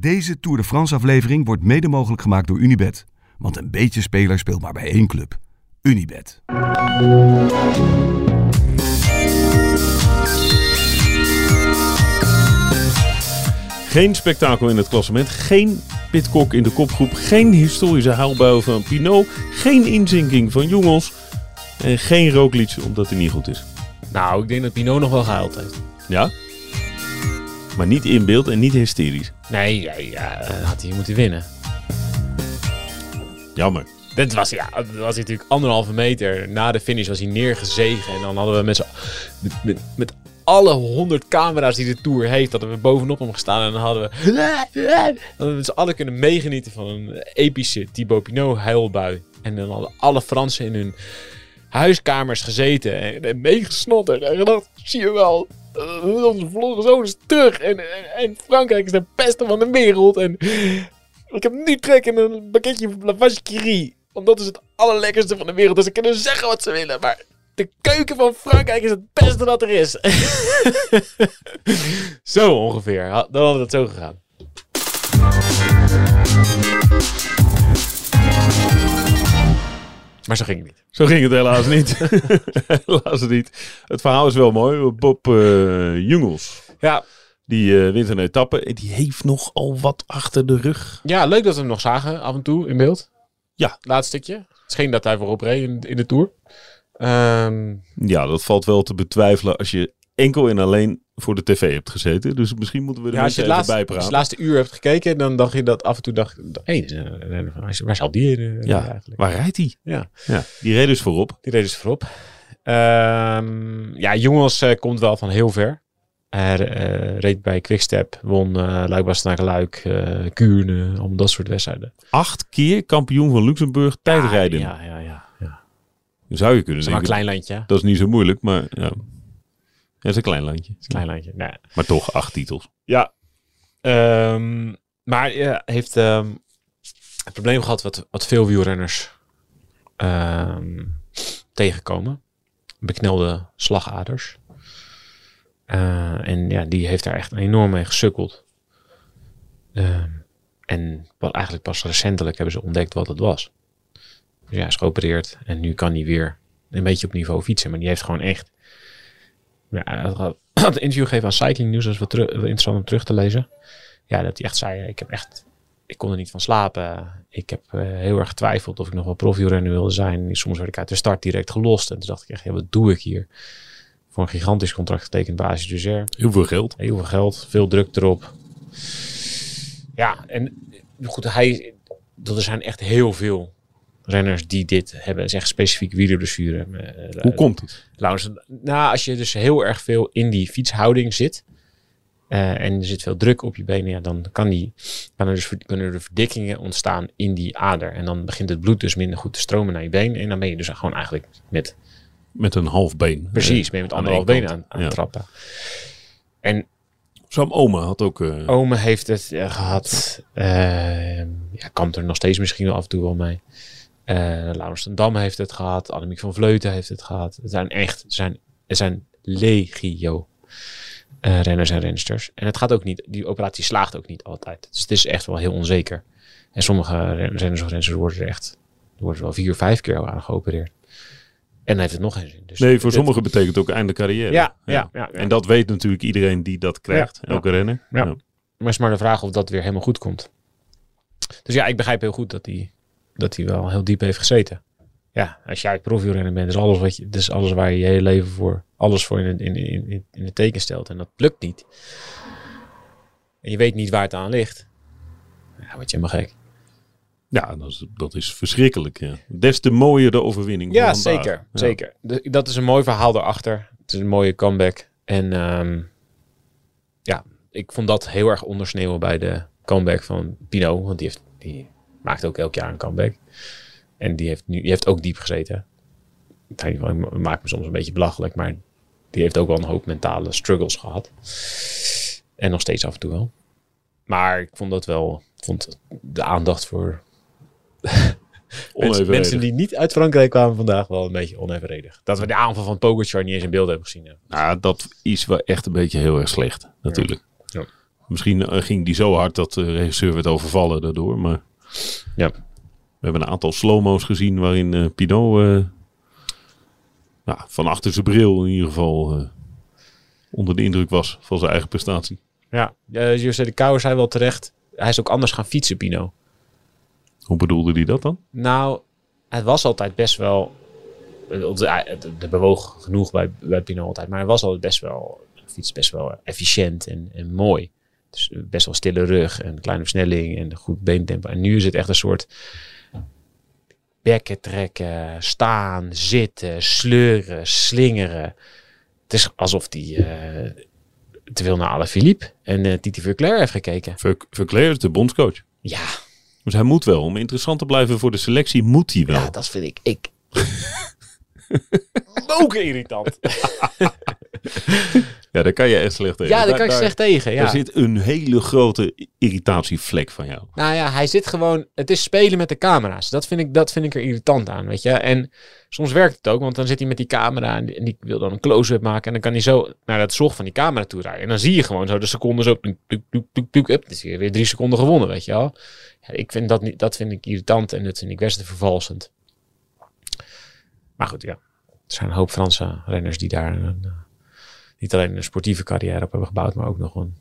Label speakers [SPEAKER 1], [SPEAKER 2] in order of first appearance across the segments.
[SPEAKER 1] Deze Tour de France aflevering wordt mede mogelijk gemaakt door Unibed. Want een beetje speler speelt maar bij één club. Unibed.
[SPEAKER 2] Geen spektakel in het klassement. Geen Pitcock in de kopgroep. Geen historische haalbui van Pinot. Geen inzinking van jongens. En geen Roglic, omdat hij niet goed is.
[SPEAKER 3] Nou, ik denk dat Pinot nog wel gehaald heeft.
[SPEAKER 2] Ja? Maar niet in beeld en niet hysterisch.
[SPEAKER 3] Nee, ja, ja, dan had hij moeten winnen.
[SPEAKER 2] Jammer.
[SPEAKER 3] Dit was, ja, dat was natuurlijk anderhalve meter. Na de finish was hij neergezegen. En dan hadden we met, z'n- met, met, met alle honderd camera's die de Tour heeft... hadden we bovenop hem gestaan. En dan hadden we, hadden we met z'n allen kunnen meegenieten van een epische Thibaut Pinot huilbui. En dan hadden alle Fransen in hun huiskamers gezeten. En, en meegesnotterd. En gedacht, zie je wel... eh, Onze verloren zoon is terug. En, en, en Frankrijk is de beste van de wereld. En ik heb nu trek in een pakketje lavage curie. Want dat is het allerlekkerste van de wereld. Dus ze kunnen zeggen wat ze willen. Maar de keuken van Frankrijk is het beste dat er is. zo ongeveer. Ha- Dan had het zo gegaan. Maar zo ging het niet.
[SPEAKER 2] Zo ging het helaas niet. helaas niet. Het verhaal is wel mooi. Bob eh, Jungels.
[SPEAKER 3] Ja,
[SPEAKER 2] Die eh, wint een etappe. En die heeft nogal wat achter de rug.
[SPEAKER 3] ja, leuk dat we hem nog zagen af en toe in beeld.
[SPEAKER 2] Ja.
[SPEAKER 3] Laatst stukje. Het scheen dat hij voorop reed in, in de Tour. Ehm,
[SPEAKER 2] Ja, dat valt wel te betwijfelen als je enkel en alleen voor de tv hebt gezeten. Dus misschien moeten we er
[SPEAKER 3] Ja, als je
[SPEAKER 2] mensen
[SPEAKER 3] het
[SPEAKER 2] even
[SPEAKER 3] laatste,
[SPEAKER 2] bij
[SPEAKER 3] als je het
[SPEAKER 2] praten.
[SPEAKER 3] laatste uur hebt gekeken, dan dacht je dat af en toe dacht dacht, hé, hey, waar zal die eh,
[SPEAKER 2] Ja.
[SPEAKER 3] eigenlijk?
[SPEAKER 2] Waar rijdt hij?
[SPEAKER 3] Ja.
[SPEAKER 2] ja. Die reed dus voorop.
[SPEAKER 3] Die reed dus voorop. Ehm, ja, jongens eh, komt wel van heel ver. Hij eh, reed bij Quickstep, won eh Luik Bastenaken Luik, eh Kuurne, allemaal dat soort wedstrijden.
[SPEAKER 2] Acht keer kampioen van Luxemburg tijdrijden.
[SPEAKER 3] Ja, ja, ja. ja. Het
[SPEAKER 2] Dan Zou je kunnen
[SPEAKER 3] is maar
[SPEAKER 2] denken.
[SPEAKER 3] een klein landje, hè? Het
[SPEAKER 2] Dat is niet zo moeilijk, maar ja. Ja, Het is een klein landje.
[SPEAKER 3] is een klein landje. Nou, Nee.
[SPEAKER 2] Maar toch acht titels.
[SPEAKER 3] Ja. Ehm, maar ja, heeft ehm, het probleem gehad wat, wat veel wielrenners ehm, tegenkomen. Beknelde slagaders. Eh, en ja, die heeft daar echt enorm mee gesukkeld. Ehm, en wat eigenlijk pas recentelijk hebben ze ontdekt wat het was. Dus ja, hij is geopereerd en nu kan hij weer een beetje op niveau fietsen. Maar die heeft gewoon echt ja, hij had- had had een interview gegeven aan Cycling News. Dat is wel, teru- wel interessant om terug te lezen. Ja, dat hij echt zei, ik heb echt... Ik kon er niet van slapen. Ik heb eh, heel erg getwijfeld of ik nog wel profielrenner wilde zijn. Soms werd ik uit de start direct gelost. En toen dacht ik echt, ja, wat doe ik hier? Voor een gigantisch contract getekend bij AG Duzer.
[SPEAKER 2] Heel veel geld.
[SPEAKER 3] Heel veel geld, veel druk erop. Ja, en eh, goed, hij, dat er zijn echt heel veel renners die dit hebben. Het is echt specifiek wielerblessure. Eh,
[SPEAKER 2] Hoe komt het?
[SPEAKER 3] Laurens, nou, als je dus heel erg veel in die fietshouding zit. eh, en er zit veel druk op je benen, ja, dan kan die, kan er dus, verd- kunnen er verdikkingen ontstaan in die ader. En dan begint het bloed dus minder goed te stromen naar je been. En dan ben je dus gewoon eigenlijk met,
[SPEAKER 2] Met een half been.
[SPEAKER 3] precies,
[SPEAKER 2] Eh,
[SPEAKER 3] ben je met
[SPEAKER 2] aan
[SPEAKER 3] anderhalf
[SPEAKER 2] één
[SPEAKER 3] been aan,
[SPEAKER 2] kant.
[SPEAKER 3] aan
[SPEAKER 2] Ja.
[SPEAKER 3] het trappen. En
[SPEAKER 2] Sam Oma had ook... eh,
[SPEAKER 3] Ome heeft het eh, gehad. Ehm ja, kampt er nog steeds misschien wel af en toe wel mee. Eh Laurens ten Dam heeft het gehad. Annemiek van Vleuten heeft het gehad. Het zijn echt, het zijn, het zijn legio eh, renners en rensters. En het gaat ook niet, die operatie slaagt ook niet altijd. Dus het is echt wel heel onzeker. En sommige ren- renners of rensters worden er echt, worden er wel vier, vijf keer aan geopereerd. En dan heeft het nog geen zin. Dus
[SPEAKER 2] Nee, voor
[SPEAKER 3] dit-
[SPEAKER 2] sommigen betekent het ook einde carrière.
[SPEAKER 3] Ja, ja, ja, ja.
[SPEAKER 2] En dat weet natuurlijk iedereen die dat krijgt.
[SPEAKER 3] Ja.
[SPEAKER 2] Elke renner.
[SPEAKER 3] Ja. Maar het is maar de vraag of dat weer helemaal goed komt. Dus ja, ik begrijp heel goed dat hij, dat hij wel heel diep heeft gezeten. Ja, als jij profielrenner bent, is alles, wat je, dus alles waar je je hele leven voor, alles voor in, het- in, in, in- in het teken stelt. En dat lukt niet. En je weet niet waar het aan ligt. Ja, word je helemaal gek.
[SPEAKER 2] Ja, dat is, dat is verschrikkelijk. Ja. Des te mooier de overwinning.
[SPEAKER 3] Ja,
[SPEAKER 2] van vandaag.
[SPEAKER 3] zeker.
[SPEAKER 2] Ja.
[SPEAKER 3] zeker. De- dat is een mooi verhaal daarachter. Het is een mooie comeback. En ehm, ja, ik vond dat heel erg ondersneeuwen bij de comeback van Pino. Want die, heeft, die maakt ook elk jaar een comeback. En die heeft, nu, die heeft ook diep gezeten. Ik weet niet, ik maak me soms een beetje belachelijk. Maar die heeft ook wel een hoop mentale struggles gehad. En nog steeds af en toe wel. Maar ik vond dat wel... ik vond de aandacht voor
[SPEAKER 2] Onevenredig.
[SPEAKER 3] Mensen, mensen die niet uit Frankrijk kwamen vandaag wel een beetje onevenredig. Dat we de aanval van Pogacar niet eens in beeld hebben gezien. hè.
[SPEAKER 2] Nou, dat is wel echt een beetje heel erg slecht. Natuurlijk.
[SPEAKER 3] Ja.
[SPEAKER 2] Misschien eh, ging die zo hard dat de regisseur werd overvallen daardoor. Maar
[SPEAKER 3] Ja.
[SPEAKER 2] we hebben een aantal slow-mo's gezien waarin eh, Pinot eh, nou, van achter zijn bril in ieder geval eh, onder de indruk was van zijn eigen prestatie.
[SPEAKER 3] Ja, eh, José de Kouwer zei wel terecht. Hij is ook anders gaan fietsen, Pino.
[SPEAKER 2] Hoe bedoelde hij dat dan?
[SPEAKER 3] Nou, het was altijd best wel... Er bewoog genoeg bij, bij Pino altijd. Maar hij was altijd best wel... Fiets best wel efficiënt en, en mooi. Dus best wel stille rug en kleine versnelling en goed beentempo. En nu is het echt een soort... Bekken trekken, staan, zitten, sleuren, slingeren. Het is alsof hij eh te veel naar Alaphilippe en eh, Titi Verclair heeft gekeken.
[SPEAKER 2] Verk- Verclair is de bondscoach.
[SPEAKER 3] Ja,
[SPEAKER 2] Dus hij moet wel. Om interessant te blijven voor de selectie moet hij wel.
[SPEAKER 3] Ja, dat vind ik. Ik. ook irritant.
[SPEAKER 2] Ja, daar kan je echt slecht tegen.
[SPEAKER 3] Ja, daar kan ik slecht tegen.
[SPEAKER 2] Er
[SPEAKER 3] Ja.
[SPEAKER 2] zit een hele grote irritatievlek van jou.
[SPEAKER 3] Nou ja, hij zit gewoon. Het is spelen met de camera's. Dat vind ik, dat vind ik er irritant aan. Weet je. En soms werkt het ook, want dan zit hij met die camera en die, en die wil dan een close-up maken. En dan kan hij zo naar dat zog van die camera toe draaien. En dan zie je gewoon zo de seconden zo. Tuk, tuk, tuk, tuk, tuk, up, het is weer weer drie seconden gewonnen, weet je wel. Ja, ik vind dat, niet, dat vind ik irritant en dat vind ik best vervalsend. Maar goed, ja. Er zijn een hoop Franse renners die daar een, eh, niet alleen een sportieve carrière op hebben gebouwd, maar ook nog een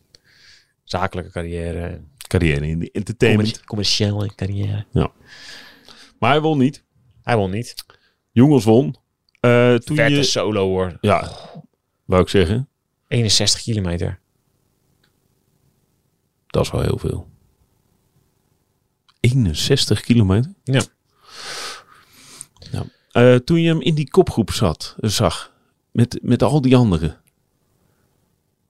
[SPEAKER 3] zakelijke carrière.
[SPEAKER 2] Carrière in de entertainment.
[SPEAKER 3] Commer- commerciële carrière.
[SPEAKER 2] Maar hij won niet.
[SPEAKER 3] Hij won niet.
[SPEAKER 2] Jongens won. Eh, toen
[SPEAKER 3] Vette
[SPEAKER 2] je...
[SPEAKER 3] solo hoor.
[SPEAKER 2] Ja, wou ik zeggen.
[SPEAKER 3] 61 kilometer.
[SPEAKER 2] Dat is wel heel veel. 61 kilometer?
[SPEAKER 3] Ja.
[SPEAKER 2] Ja. Eh, toen je hem in die kopgroep zat, zag, met, met al die anderen.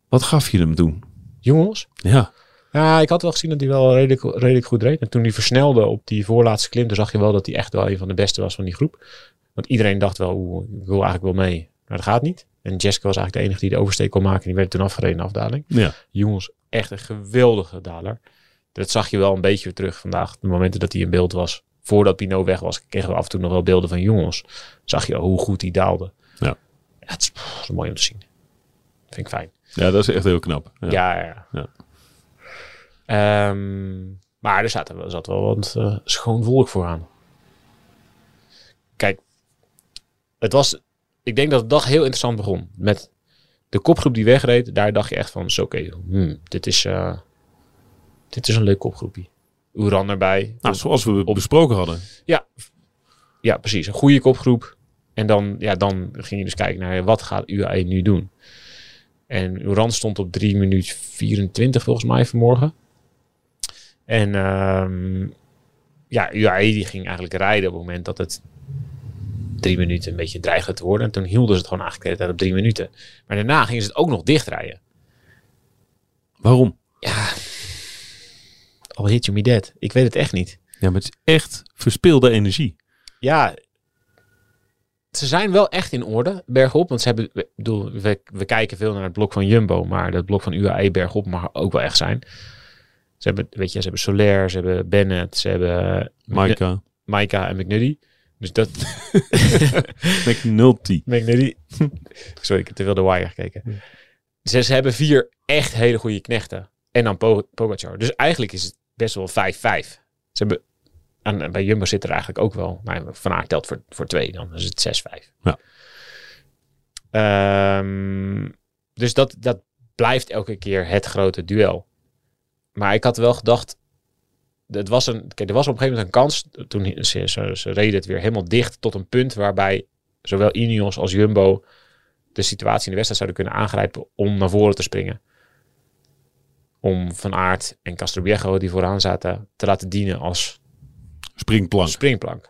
[SPEAKER 2] Wat gaf je hem toen?
[SPEAKER 3] Jongens.
[SPEAKER 2] Ja.
[SPEAKER 3] Ja, ik had wel gezien dat hij wel redelijk, redelijk goed reed. En toen hij versnelde op die voorlaatste klim, toen zag je wel dat hij echt wel een van de beste was van die groep. Want iedereen dacht wel, oeh, ik wil eigenlijk wel mee. Maar dat gaat niet. En Jessica was eigenlijk de enige die de oversteek kon maken. En die werd toen afgereden in de afdaling.
[SPEAKER 2] ja.
[SPEAKER 3] Jongens, echt een geweldige daler. Dat zag je wel een beetje weer terug vandaag. De momenten dat hij in beeld was, voordat Pino weg was, kregen we af en toe nog wel beelden van jongens. Zag je hoe goed hij daalde.
[SPEAKER 2] Ja.
[SPEAKER 3] het is, pff, dat is mooi om te zien. Vind ik fijn.
[SPEAKER 2] Ja, dat is echt heel knap. Ja.
[SPEAKER 3] Ja, ja. ja. Ehm, maar er zat, er zat wel wat eh, schoon volk vooraan. Kijk, het was, ik denk dat de dag heel interessant begon. Met de kopgroep die wegreed, daar dacht je echt van, zo oké, hmm, dit, is, eh, dit is een leuk kopgroepje. Oeran erbij.
[SPEAKER 2] Nou, zoals we besproken hadden.
[SPEAKER 3] Ja, ja precies. Een goede kopgroep. En dan, ja, dan ging je dus kijken naar wat gaat UAE nu doen. En Uran stond op 3 minuut 24 volgens mij vanmorgen. En ehm, ja, UAE die ging eigenlijk rijden op het moment dat het drie minuten een beetje dreigde te worden. En toen hielden ze het gewoon eigenlijk de hele tijd op drie minuten. Maar daarna gingen ze het ook nog dichtrijden.
[SPEAKER 2] Waarom?
[SPEAKER 3] Ja, al hit you me dead. Ik weet het echt niet.
[SPEAKER 2] Ja, maar het is echt verspeelde energie.
[SPEAKER 3] ja, ze zijn wel echt in orde bergop. Want ze hebben, ik bedoel, we, we kijken veel naar het blok van Jumbo, maar dat blok van UAE bergop mag ook wel echt zijn. Ze hebben, weet je, ze hebben Soler, ze hebben Bennett, ze hebben Micah
[SPEAKER 2] Maika,
[SPEAKER 3] Maika en McNuddy. Dus dat,
[SPEAKER 2] McNulty.
[SPEAKER 3] McNulty. Sorry, ik heb te veel de wire gekeken. Ze, ze hebben vier echt hele goede knechten. En dan Po- Pogacar. Dus eigenlijk is het best wel 5-5. Ze hebben, en en bij Jumbo zit er eigenlijk ook wel. Maar Van Aert telt voor, voor twee. Dan is het 6-5.
[SPEAKER 2] Ja.
[SPEAKER 3] Ehm, dus dat, dat blijft elke keer het grote duel. Maar ik had wel gedacht... Het was een, kijk, er was op een gegeven moment een kans. Toen ze, ze, ze reden het weer helemaal dicht tot een punt waarbij zowel Ineos als Jumbo de situatie in de wedstrijd zouden kunnen aangrijpen om naar voren te springen. Om Van Aert en Castroviejo, die vooraan zaten, te laten dienen als
[SPEAKER 2] Springplank.
[SPEAKER 3] springplank.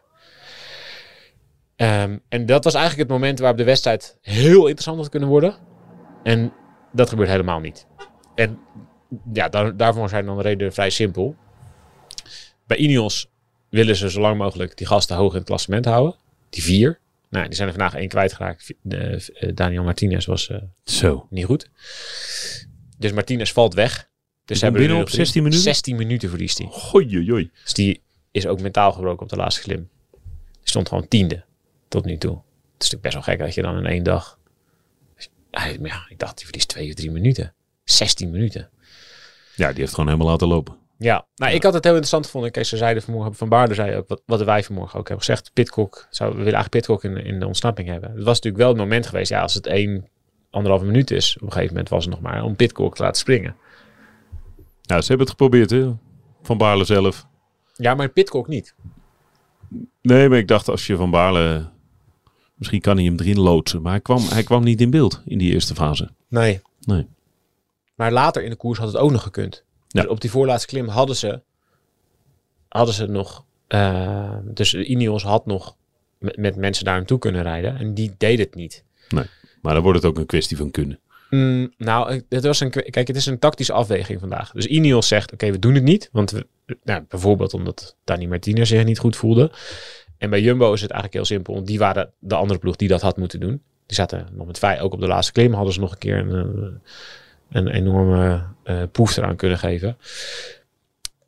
[SPEAKER 3] Ehm, en dat was eigenlijk het moment waarop de wedstrijd heel interessant had kunnen worden. En dat gebeurt helemaal niet. En ja, daar, daarvoor zijn dan de redenen vrij simpel. Bij Ineos willen ze zo lang mogelijk die gasten hoog in het klassement houden. Die vier. Nou, die zijn er vandaag één kwijtgeraakt. Eh, eh, Daniel Martinez was eh,
[SPEAKER 2] Zo.
[SPEAKER 3] niet goed. Dus Martinez valt weg. Dus ze
[SPEAKER 2] komt
[SPEAKER 3] hebben er
[SPEAKER 2] binnen
[SPEAKER 3] nu
[SPEAKER 2] op
[SPEAKER 3] nog drie-
[SPEAKER 2] 16 minuten?
[SPEAKER 3] 16 minuten verliest hij.
[SPEAKER 2] Goeiejoi.
[SPEAKER 3] Dus die is ook mentaal gebroken op de laatste klim. Die stond gewoon tiende tot nu toe. Het is natuurlijk best wel gek dat je dan in één dag... Hij- maar Ja, ik dacht, die verliest twee of drie minuten. 16 minuten.
[SPEAKER 2] Ja, die heeft gewoon helemaal laten lopen.
[SPEAKER 3] Ja, nou, ik had het heel interessant gevonden. Kees, ze zeiden vanmorgen, Van Baarden zei ook, wat, wat wij vanmorgen ook hebben gezegd. Pitcock, zou, we willen eigenlijk Pitcock in, in de ontsnapping hebben. Het was natuurlijk wel het moment geweest, ja, als het één, anderhalve minuut is, op een gegeven moment was het nog maar, om Pitcock te laten springen.
[SPEAKER 2] Ja, Nou, ze hebben het geprobeerd, hè? Van Baarle zelf.
[SPEAKER 3] Ja, maar Pitcock niet.
[SPEAKER 2] Nee, maar ik dacht als je Van Baarle... Misschien kan hij hem erin loodsen. Maar hij kwam, hij kwam niet in beeld in die eerste fase.
[SPEAKER 3] Nee.
[SPEAKER 2] Nee.
[SPEAKER 3] Maar later in de koers had het ook nog gekund.
[SPEAKER 2] Ja.
[SPEAKER 3] Dus op die voorlaatste klim hadden ze, hadden ze nog, eh, dus Ineos had nog met, met mensen daar naartoe kunnen rijden. En die deed het niet.
[SPEAKER 2] Maar dan wordt het ook een kwestie van kunnen.
[SPEAKER 3] Mm, nou, ik- dit was een, kwe- kijk, het is een tactische afweging vandaag. Dus Ineos zegt, oké, we doen het niet. Want we, nou, bijvoorbeeld omdat Dani Martina zich niet goed voelde. En bij Jumbo is het eigenlijk heel simpel. Want die waren de andere ploeg die dat had moeten doen. Die zaten nog met vijf, ook op de laatste klim hadden ze nog een keer een, eh, een enorme eh poef eraan kunnen geven.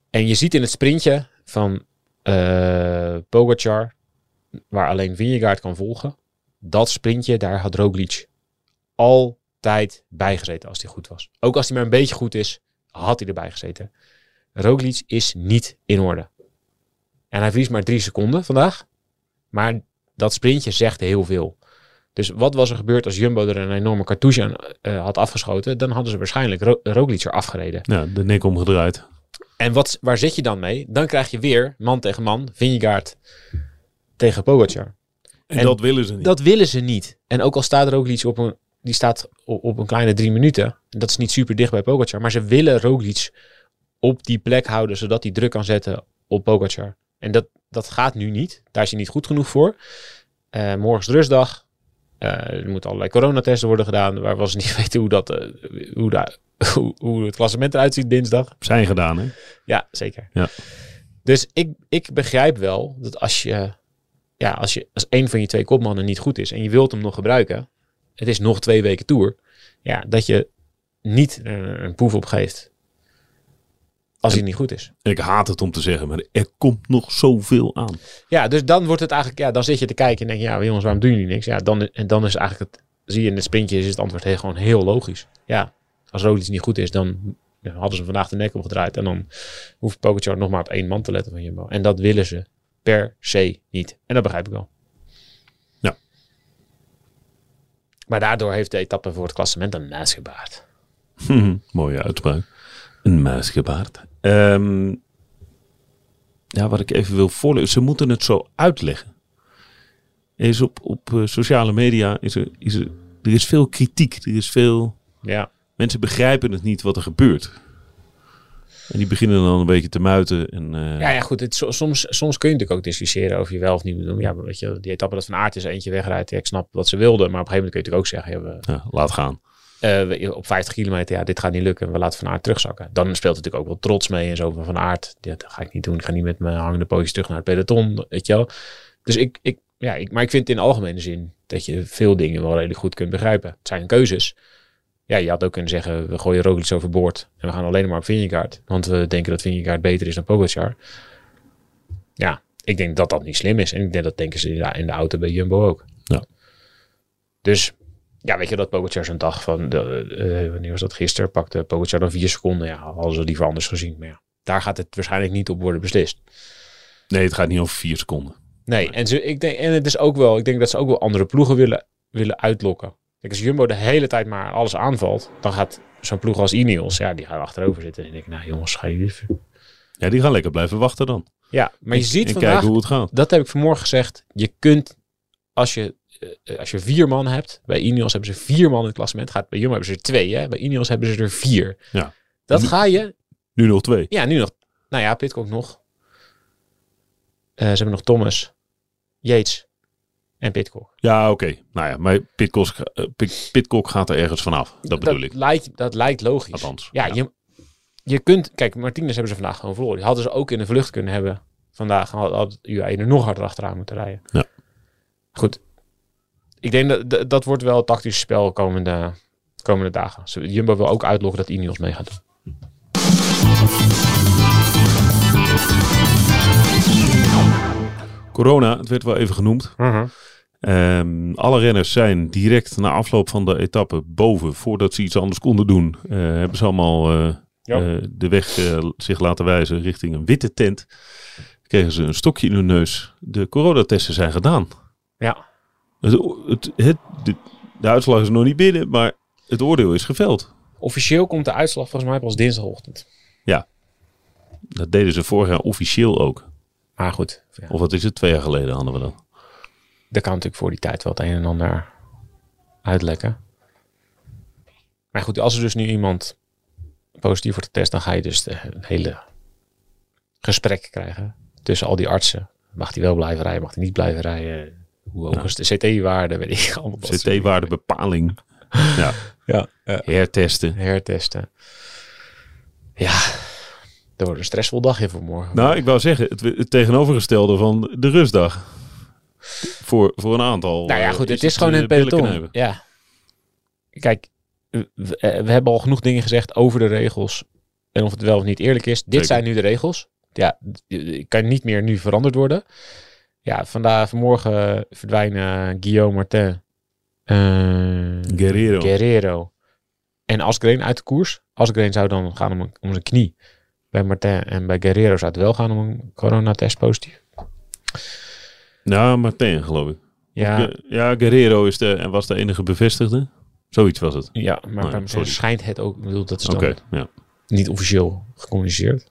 [SPEAKER 3] En je ziet in het sprintje van eh Pogacar, waar alleen Vingegaard kan volgen. Dat sprintje, daar had Roglic al tijd bijgezeten als hij goed was. Ook als hij maar een beetje goed is, had hij erbij gezeten. Roglic is niet in orde. En hij verliest maar drie seconden vandaag. Maar dat sprintje zegt heel veel. Dus wat was er gebeurd als Jumbo er een enorme cartouche aan eh, had afgeschoten? Dan hadden ze waarschijnlijk Ro Roglic er afgereden.
[SPEAKER 2] Ja, de nek omgedraaid.
[SPEAKER 3] En wat, waar zit je dan mee? Dan krijg je weer man tegen man, Vingegaard tegen Pogacar.
[SPEAKER 2] En,
[SPEAKER 3] En
[SPEAKER 2] dat willen ze niet.
[SPEAKER 3] Dat willen ze niet. En ook al staat Roglic op een, die staat op, op een kleine drie minuten. Dat is niet super dicht bij Pogacar. Maar ze willen Roglic op die plek houden. Zodat hij druk kan zetten op Pogacar. En dat, dat gaat nu niet. Daar is hij niet goed genoeg voor. Eh, morgen is rustdag. Eh, er moeten allerlei coronatesten worden gedaan. Waar we ons niet weten hoe, dat, eh, hoe, daar- hoe, hoe het klassement eruit ziet dinsdag.
[SPEAKER 2] Zijn gedaan, hè?
[SPEAKER 3] Ja, zeker.
[SPEAKER 2] Ja.
[SPEAKER 3] Dus ik, ik begrijp wel dat als je, ja, als je als een van je twee kopmannen niet goed is en je wilt hem nog gebruiken, het is nog twee weken tour, ja, dat je niet een, een proef opgeeft als hij niet goed is.
[SPEAKER 2] Ik haat het om te zeggen, maar er komt nog zoveel aan.
[SPEAKER 3] Ja, dus dan wordt het eigenlijk, ja, dan zit je te kijken en denk je, ja, jongens, waarom doen jullie niks? Ja, dan, en dan is eigenlijk het, zie je in de sprintjes, is het antwoord heel, gewoon heel logisch. Ja, als Roglic niet goed is, dan ja, hadden ze hem vandaag de nek opgedraaid en dan hoeft Pogacar nog maar op één man te letten van Jumbo. En dat willen ze per se niet. En dat begrijp ik wel.
[SPEAKER 2] Ja.
[SPEAKER 3] Maar daardoor heeft de etappe voor het klassement een naast gebaard.
[SPEAKER 2] Hm, mooie uitspraak. Een muisgebaard. Ehm ja, wat ik even wil voorlezen. Ze moeten het zo uitleggen. Er Is op, op eh, sociale media is er, is er, er is veel kritiek. Er is veel,
[SPEAKER 3] Ja.
[SPEAKER 2] mensen begrijpen het niet wat er gebeurt. En die beginnen dan een beetje te muiten. En, eh,
[SPEAKER 3] Ja, ja goed. Het, so- soms, soms kun je natuurlijk ook discussiëren over je wel of niet moet doen. Ja, maar weet je, die etappe dat van aard is eentje wegrijdt. Ja, ik snap wat ze wilden, maar op een gegeven moment kun je natuurlijk ook zeggen... Ja, we,
[SPEAKER 2] ja, laat gaan.
[SPEAKER 3] Eh, we- op 50 kilometer, ja, dit gaat niet lukken. We laten Van Aert terugzakken. Dan speelt natuurlijk ook wel trots mee en zo van Van Aert. Dit ga ik niet doen. Ik ga niet met mijn hangende pootjes terug naar het peloton, weet je wel. Dus ik, ik, ja, ik, maar ik vind in algemene zin dat je veel dingen wel redelijk goed kunt begrijpen. Het zijn keuzes. Ja, je had ook kunnen zeggen, we gooien Roglic overboord en we gaan alleen maar op Vingegaard. Want we denken dat Vingegaard beter is dan Pogacar. Ja, ik denk dat dat niet slim is. En ik denk dat denken ze in de- in de auto bij Jumbo ook.
[SPEAKER 2] Ja.
[SPEAKER 3] Dus ja, weet je dat Pogacar zo'n dag van, de, eh, wanneer was dat gisteren, pakte Pogacar dan vier seconden. Ja, hadden ze liever anders gezien. Maar ja, daar gaat het waarschijnlijk niet op worden beslist.
[SPEAKER 2] Nee, het gaat niet over vier seconden.
[SPEAKER 3] Nee, en, ze, ik denk, en het is ook wel, ik denk dat ze ook wel andere ploegen willen, willen uitlokken. Kijk, als Jumbo de hele tijd maar alles aanvalt, dan gaat zo'n ploeg als Ineos, ja, die gaan achterover zitten. En ik denk, nou jongens, ga je liever.
[SPEAKER 2] Ja, die gaan lekker blijven wachten dan.
[SPEAKER 3] Ja, maar je ziet
[SPEAKER 2] en
[SPEAKER 3] vandaag
[SPEAKER 2] kijken hoe het gaat.
[SPEAKER 3] dat heb ik vanmorgen gezegd. Je kunt, als je, eh, als je vier man hebt, bij Ineos hebben ze vier man in het klassement. Gaat, bij Jumbo hebben ze er twee, hè? bij Ineos hebben ze er vier.
[SPEAKER 2] Ja.
[SPEAKER 3] Dat ga je,
[SPEAKER 2] Nu nog twee.
[SPEAKER 3] ja, nu nog. Nou ja, Pitcock nog. Eh, ze hebben nog Thomas, Yates en Pitcock.
[SPEAKER 2] Ja, oké. Nou ja, maar Pitcock, eh, Pit- Pitcock gaat er ergens vanaf. Dat bedoel ik.
[SPEAKER 3] Lijkt, dat lijkt logisch.
[SPEAKER 2] Althans,
[SPEAKER 3] ja,
[SPEAKER 2] ja.
[SPEAKER 3] Je, je kunt, kijk, Martinez hebben ze vandaag gewoon verloren. Die hadden ze ook in de vlucht kunnen hebben vandaag. Had, had UAE er nog harder achteraan moeten rijden.
[SPEAKER 2] Ja.
[SPEAKER 3] Goed. Ik denk dat, dat, dat wordt wel het tactisch spel komende, komende dagen. Ze- Jumbo wil ook uitloggen dat Ineos mee gaat doen.
[SPEAKER 2] Corona, het werd wel even genoemd. Ehm, alle renners zijn direct na afloop van de etappe boven, voordat ze iets anders konden doen, eh, hebben ze allemaal eh, eh, de weg eh, zich laten wijzen richting een witte tent, kregen ze een stokje in hun neus. De coronatesten zijn gedaan.
[SPEAKER 3] Ja.
[SPEAKER 2] Het, o- het, het, de, de uitslag is nog niet binnen, maar het oordeel is geveld.
[SPEAKER 3] Officieel komt de uitslag volgens mij pas dinsdagochtend.
[SPEAKER 2] Dat deden ze vorig jaar officieel ook.
[SPEAKER 3] Maar goed, ja,
[SPEAKER 2] Of wat is het, twee jaar geleden hadden we dat.
[SPEAKER 3] daar kan natuurlijk voor die tijd wel het een en ander uitlekken. Maar goed, als er dus nu iemand positief wordt getest, dan ga je dus de, een hele gesprek krijgen tussen al die artsen. Mag hij wel blijven rijden, mag hij niet blijven rijden? Hoe hoog is de CT-waarde? Weet ik allemaal. dat soort
[SPEAKER 2] CT-waardebepaling. Ja,
[SPEAKER 3] dingen. Ja, ja.
[SPEAKER 2] hertesten.
[SPEAKER 3] hertesten. Ja, dat wordt een stressvol dagje voor morgen.
[SPEAKER 2] Nou, ik wou zeggen, het, het tegenovergestelde van de rustdag. Voor, voor een aantal.
[SPEAKER 3] Nou ja,
[SPEAKER 2] eh,
[SPEAKER 3] goed, het is gewoon
[SPEAKER 2] eh,
[SPEAKER 3] een peloton.
[SPEAKER 2] billenknijpen.
[SPEAKER 3] Ja. Kijk, we, we- eh, we hebben al genoeg dingen gezegd over de regels. En of het wel of niet eerlijk is. Dit
[SPEAKER 2] Zeker.
[SPEAKER 3] zijn nu de regels. Ja, d- eh, kan niet meer nu veranderd worden. Ja, vandaag, vanmorgen eh, verdwijnen Guillaume Martin, eh
[SPEAKER 2] Guerrero.
[SPEAKER 3] Guerrero en Asgreen uit de koers. Asgreen zou dan gaan om, om zijn knie. Bij Martin en bij Guerrero zou het wel gaan om een coronatest positief.
[SPEAKER 2] Nou, Martin, geloof ik.
[SPEAKER 3] Ja,
[SPEAKER 2] Ja, ja, Guerrero is de, en was de enige bevestigde. Zoiets was het.
[SPEAKER 3] ja maar
[SPEAKER 2] Nee,
[SPEAKER 3] bij Martin
[SPEAKER 2] Oh sorry.
[SPEAKER 3] schijnt het ook. Ik bedoel, dat is
[SPEAKER 2] Oké,
[SPEAKER 3] dan
[SPEAKER 2] ja.
[SPEAKER 3] niet officieel gecommuniceerd.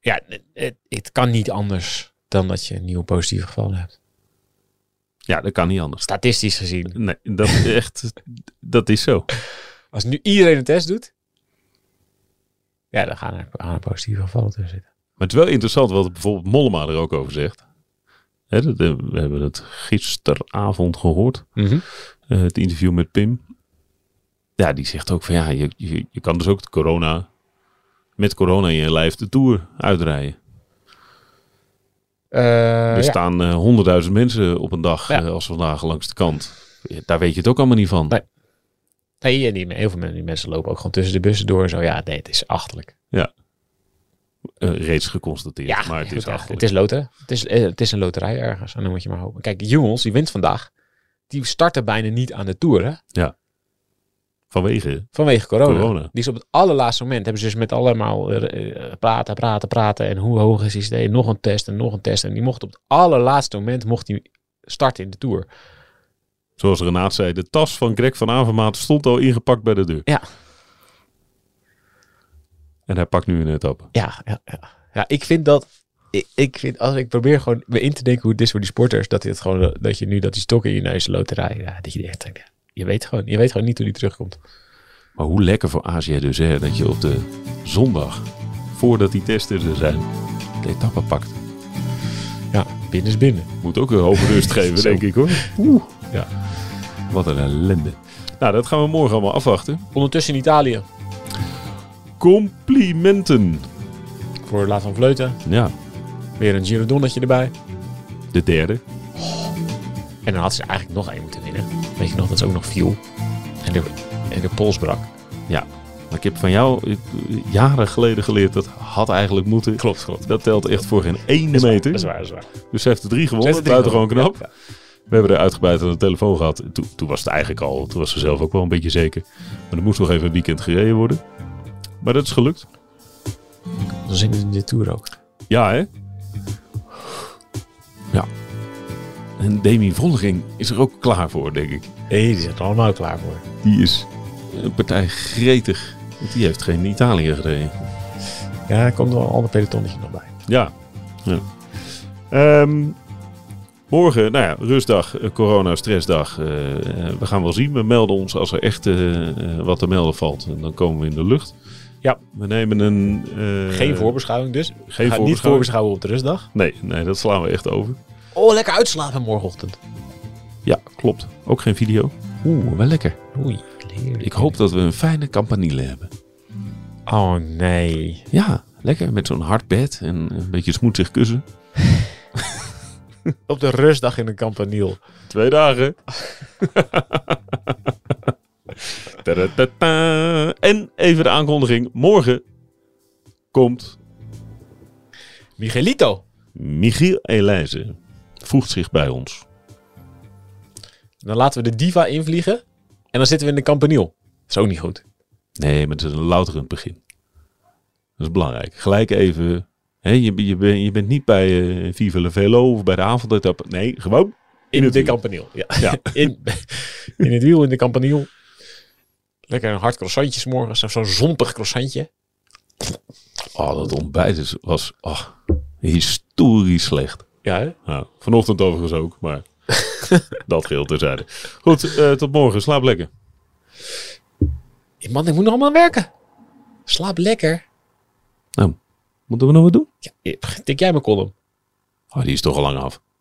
[SPEAKER 3] Ja, het- het, het kan niet anders dan dat je een nieuwe positieve gevallen hebt.
[SPEAKER 2] Ja, dat kan niet anders.
[SPEAKER 3] Statistisch gezien.
[SPEAKER 2] Nee, dat is echt, dat is zo.
[SPEAKER 3] Als nu iedereen een test doet. Ja, dan gaan er aan positieve gevallen tussen zitten.
[SPEAKER 2] Maar het is wel interessant wat bijvoorbeeld Mollema er ook over zegt. Hè, dat, eh, we hebben het gisteravond gehoord. Eh, het interview met Pim. Ja, die zegt ook van ja, je, je, je kan dus ook het corona, met corona in je lijf de Tour uitrijden.
[SPEAKER 3] Eh,
[SPEAKER 2] er
[SPEAKER 3] ja.
[SPEAKER 2] staan eh, honderdduizend mensen op een dag
[SPEAKER 3] Ja.
[SPEAKER 2] eh, als vandaag langs de kant. Ja, Daar weet je het ook allemaal niet van.
[SPEAKER 3] Nee. Nee, en die, heel veel mensen, die mensen lopen ook gewoon tussen de bussen door en zo. Ja, nee, het is achterlijk.
[SPEAKER 2] Eh, reeds geconstateerd,
[SPEAKER 3] Ja,
[SPEAKER 2] maar het
[SPEAKER 3] goed,
[SPEAKER 2] is
[SPEAKER 3] ja,
[SPEAKER 2] achterlijk.
[SPEAKER 3] Het is loten. Het is, eh, het is een loterij ergens. En dan moet je maar hopen. Kijk, jongens, die wint vandaag. Die starten bijna niet aan de Tour, hè?
[SPEAKER 2] Vanwege
[SPEAKER 3] Vanwege corona.
[SPEAKER 2] Corona.
[SPEAKER 3] Die is op het allerlaatste moment. Hebben ze dus met allemaal eh, eh, praten, praten, praten. En hoe hoog is die steeds? Nog een test en nog een test. En die mocht op het allerlaatste moment mocht die starten in de Tour.
[SPEAKER 2] Zoals Renaat zei, de tas van Greg van Avermaat stond al ingepakt bij de deur.
[SPEAKER 3] Ja.
[SPEAKER 2] En hij pakt nu een etappe.
[SPEAKER 3] Ja, ja, ja. ja ik vind dat... Ik, ik vind, als ik probeer gewoon me in te denken hoe het is voor die sporters. Dat, dit gewoon, eh, dat je nu dat die stokken in je neus loterij. Ja, dat je echt denkt, ja, je weet, gewoon, je weet gewoon niet hoe die terugkomt.
[SPEAKER 2] Maar hoe lekker voor Azië dus, hè, dat je op de zondag, voordat die testen er zijn, de etappe pakt.
[SPEAKER 3] Ja, binnen is binnen.
[SPEAKER 2] Moet ook een hoop rust geven,
[SPEAKER 3] Zo.
[SPEAKER 2] denk ik hoor. Oeh. Ja. Wat een ellende. Nou, dat gaan we morgen allemaal afwachten.
[SPEAKER 3] Ondertussen in Italië.
[SPEAKER 2] Complimenten.
[SPEAKER 3] Voor Laat van Vleuten.
[SPEAKER 2] Ja,
[SPEAKER 3] Weer een Girodonnetje erbij.
[SPEAKER 2] de derde.
[SPEAKER 3] En dan had ze eigenlijk nog één moeten winnen. Weet je nog, dat ze ook nog viel. En de, en de pols brak.
[SPEAKER 2] Ja. Maar ik heb van jou eh, jaren geleden geleerd dat had eigenlijk moeten.
[SPEAKER 3] Klopt, klopt.
[SPEAKER 2] Dat telt echt voor geen ene
[SPEAKER 3] Dat is waar,
[SPEAKER 2] meter.
[SPEAKER 3] dat is waar, dat is waar.
[SPEAKER 2] Dus ze heeft er drie
[SPEAKER 3] Zet
[SPEAKER 2] gewonnen.
[SPEAKER 3] het ding
[SPEAKER 2] Buiten gewoon
[SPEAKER 3] op.
[SPEAKER 2] knap.
[SPEAKER 3] Ja,
[SPEAKER 2] We hebben er uitgebreid aan de telefoon gehad. En Toen, toen was het eigenlijk al, toen was ze zelf ook wel een beetje zeker. Maar er moest nog even een weekend gereden worden. Maar dat is gelukt.
[SPEAKER 3] ja. Dan zitten we in de Tour ook.
[SPEAKER 2] Ja, hè? Ja. En Demi Vollering is er ook klaar voor, denk ik.
[SPEAKER 3] Nee, die zijn er allemaal klaar voor.
[SPEAKER 2] Die is een partij gretig. Want die heeft geen Italië gereden.
[SPEAKER 3] Ja, er komt wel een ander pelotonnetje nog bij.
[SPEAKER 2] Ja. ja. Ehm, morgen, nou ja, rustdag, eh, corona, stressdag. Eh, eh, we gaan wel zien. We melden ons als er echt eh, eh, wat te melden valt. En dan komen we in de lucht.
[SPEAKER 3] Ja.
[SPEAKER 2] We nemen een... eh,
[SPEAKER 3] Geen voorbeschouwing dus. Ga
[SPEAKER 2] Geen
[SPEAKER 3] niet
[SPEAKER 2] voorbeschouwing.
[SPEAKER 3] voorbeschouwen op de rustdag.
[SPEAKER 2] Nee, nee, dat slaan we echt over.
[SPEAKER 3] Oh, lekker uitslapen morgenochtend.
[SPEAKER 2] Ja, klopt. Ook geen video. Oeh, wel lekker.
[SPEAKER 3] Oei, heerlijk.
[SPEAKER 2] Ik hoop dat we een fijne campanile hebben.
[SPEAKER 3] Oh, nee.
[SPEAKER 2] Ja, lekker met zo'n hard bed en een beetje smoetsig kussen.
[SPEAKER 3] Op de rustdag in een campaniel.
[SPEAKER 2] Twee dagen. Tadadada. en even de aankondiging. Morgen komt
[SPEAKER 3] Miguelito.
[SPEAKER 2] Michiel Elijzen. Voegt zich bij ons.
[SPEAKER 3] Dan laten we de diva invliegen. En dan zitten we in de campaniel. Dat is ook niet goed.
[SPEAKER 2] Nee, maar het is een louterend begin. Dat is belangrijk. Gelijk even. Hè, je, je, ben- je bent niet bij eh Viva la Velo of bij de avondetappe. Nee, gewoon.
[SPEAKER 3] In,
[SPEAKER 2] het
[SPEAKER 3] de
[SPEAKER 2] wiel.
[SPEAKER 3] campaniel. Ja.
[SPEAKER 2] Ja.
[SPEAKER 3] In, in het wiel, in de campaniel. Lekker een hard croissantje 's morgens of zo'n zompig croissantje.
[SPEAKER 2] Oh, dat ontbijt is, was oh, historisch slecht.
[SPEAKER 3] Ja, hè?
[SPEAKER 2] Nou, vanochtend overigens ook, maar dat geheel terzijde. Goed, eh, tot morgen. Slaap lekker.
[SPEAKER 3] Hey, Man, ik moet nog allemaal werken. Slaap lekker.
[SPEAKER 2] Nou, moeten we nog wat doen?
[SPEAKER 3] Ja, tik jij mijn column.
[SPEAKER 2] Oh, die is toch al lang af.